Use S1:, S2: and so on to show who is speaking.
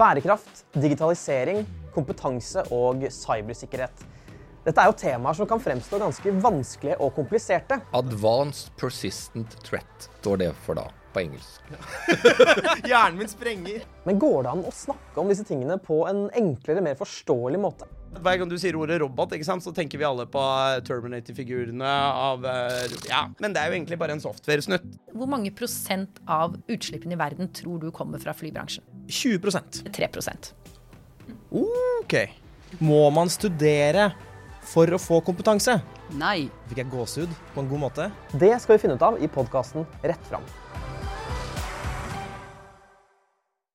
S1: Bærekraft, digitalisering, kompetanse og cybersikkerhet. Dette er jo temaer som kan fremstå ganske vanskelige og kompliserte.
S2: Advanced Persistent Threat står det for da, på engelsk.
S3: Hjernen min sprenger.
S1: Men går det an å snakke om disse tingene på en enklere, mer forståelig måte?
S3: Hver gang du sier ordet robot, ikke sant, så tenker vi alle på eh, Terminator-figurene av eh, Ja, men det er jo egentlig bare en software-snutt.
S4: Hvor mange prosent av utslippene i verden tror du kommer fra flybransjen?
S5: 20
S4: 3 prosent.
S5: OK. Må man studere for å få kompetanse?
S6: Nei.
S5: Fikk jeg gåsehud på en god måte?
S1: Det skal vi finne ut av i podkasten Rett fram.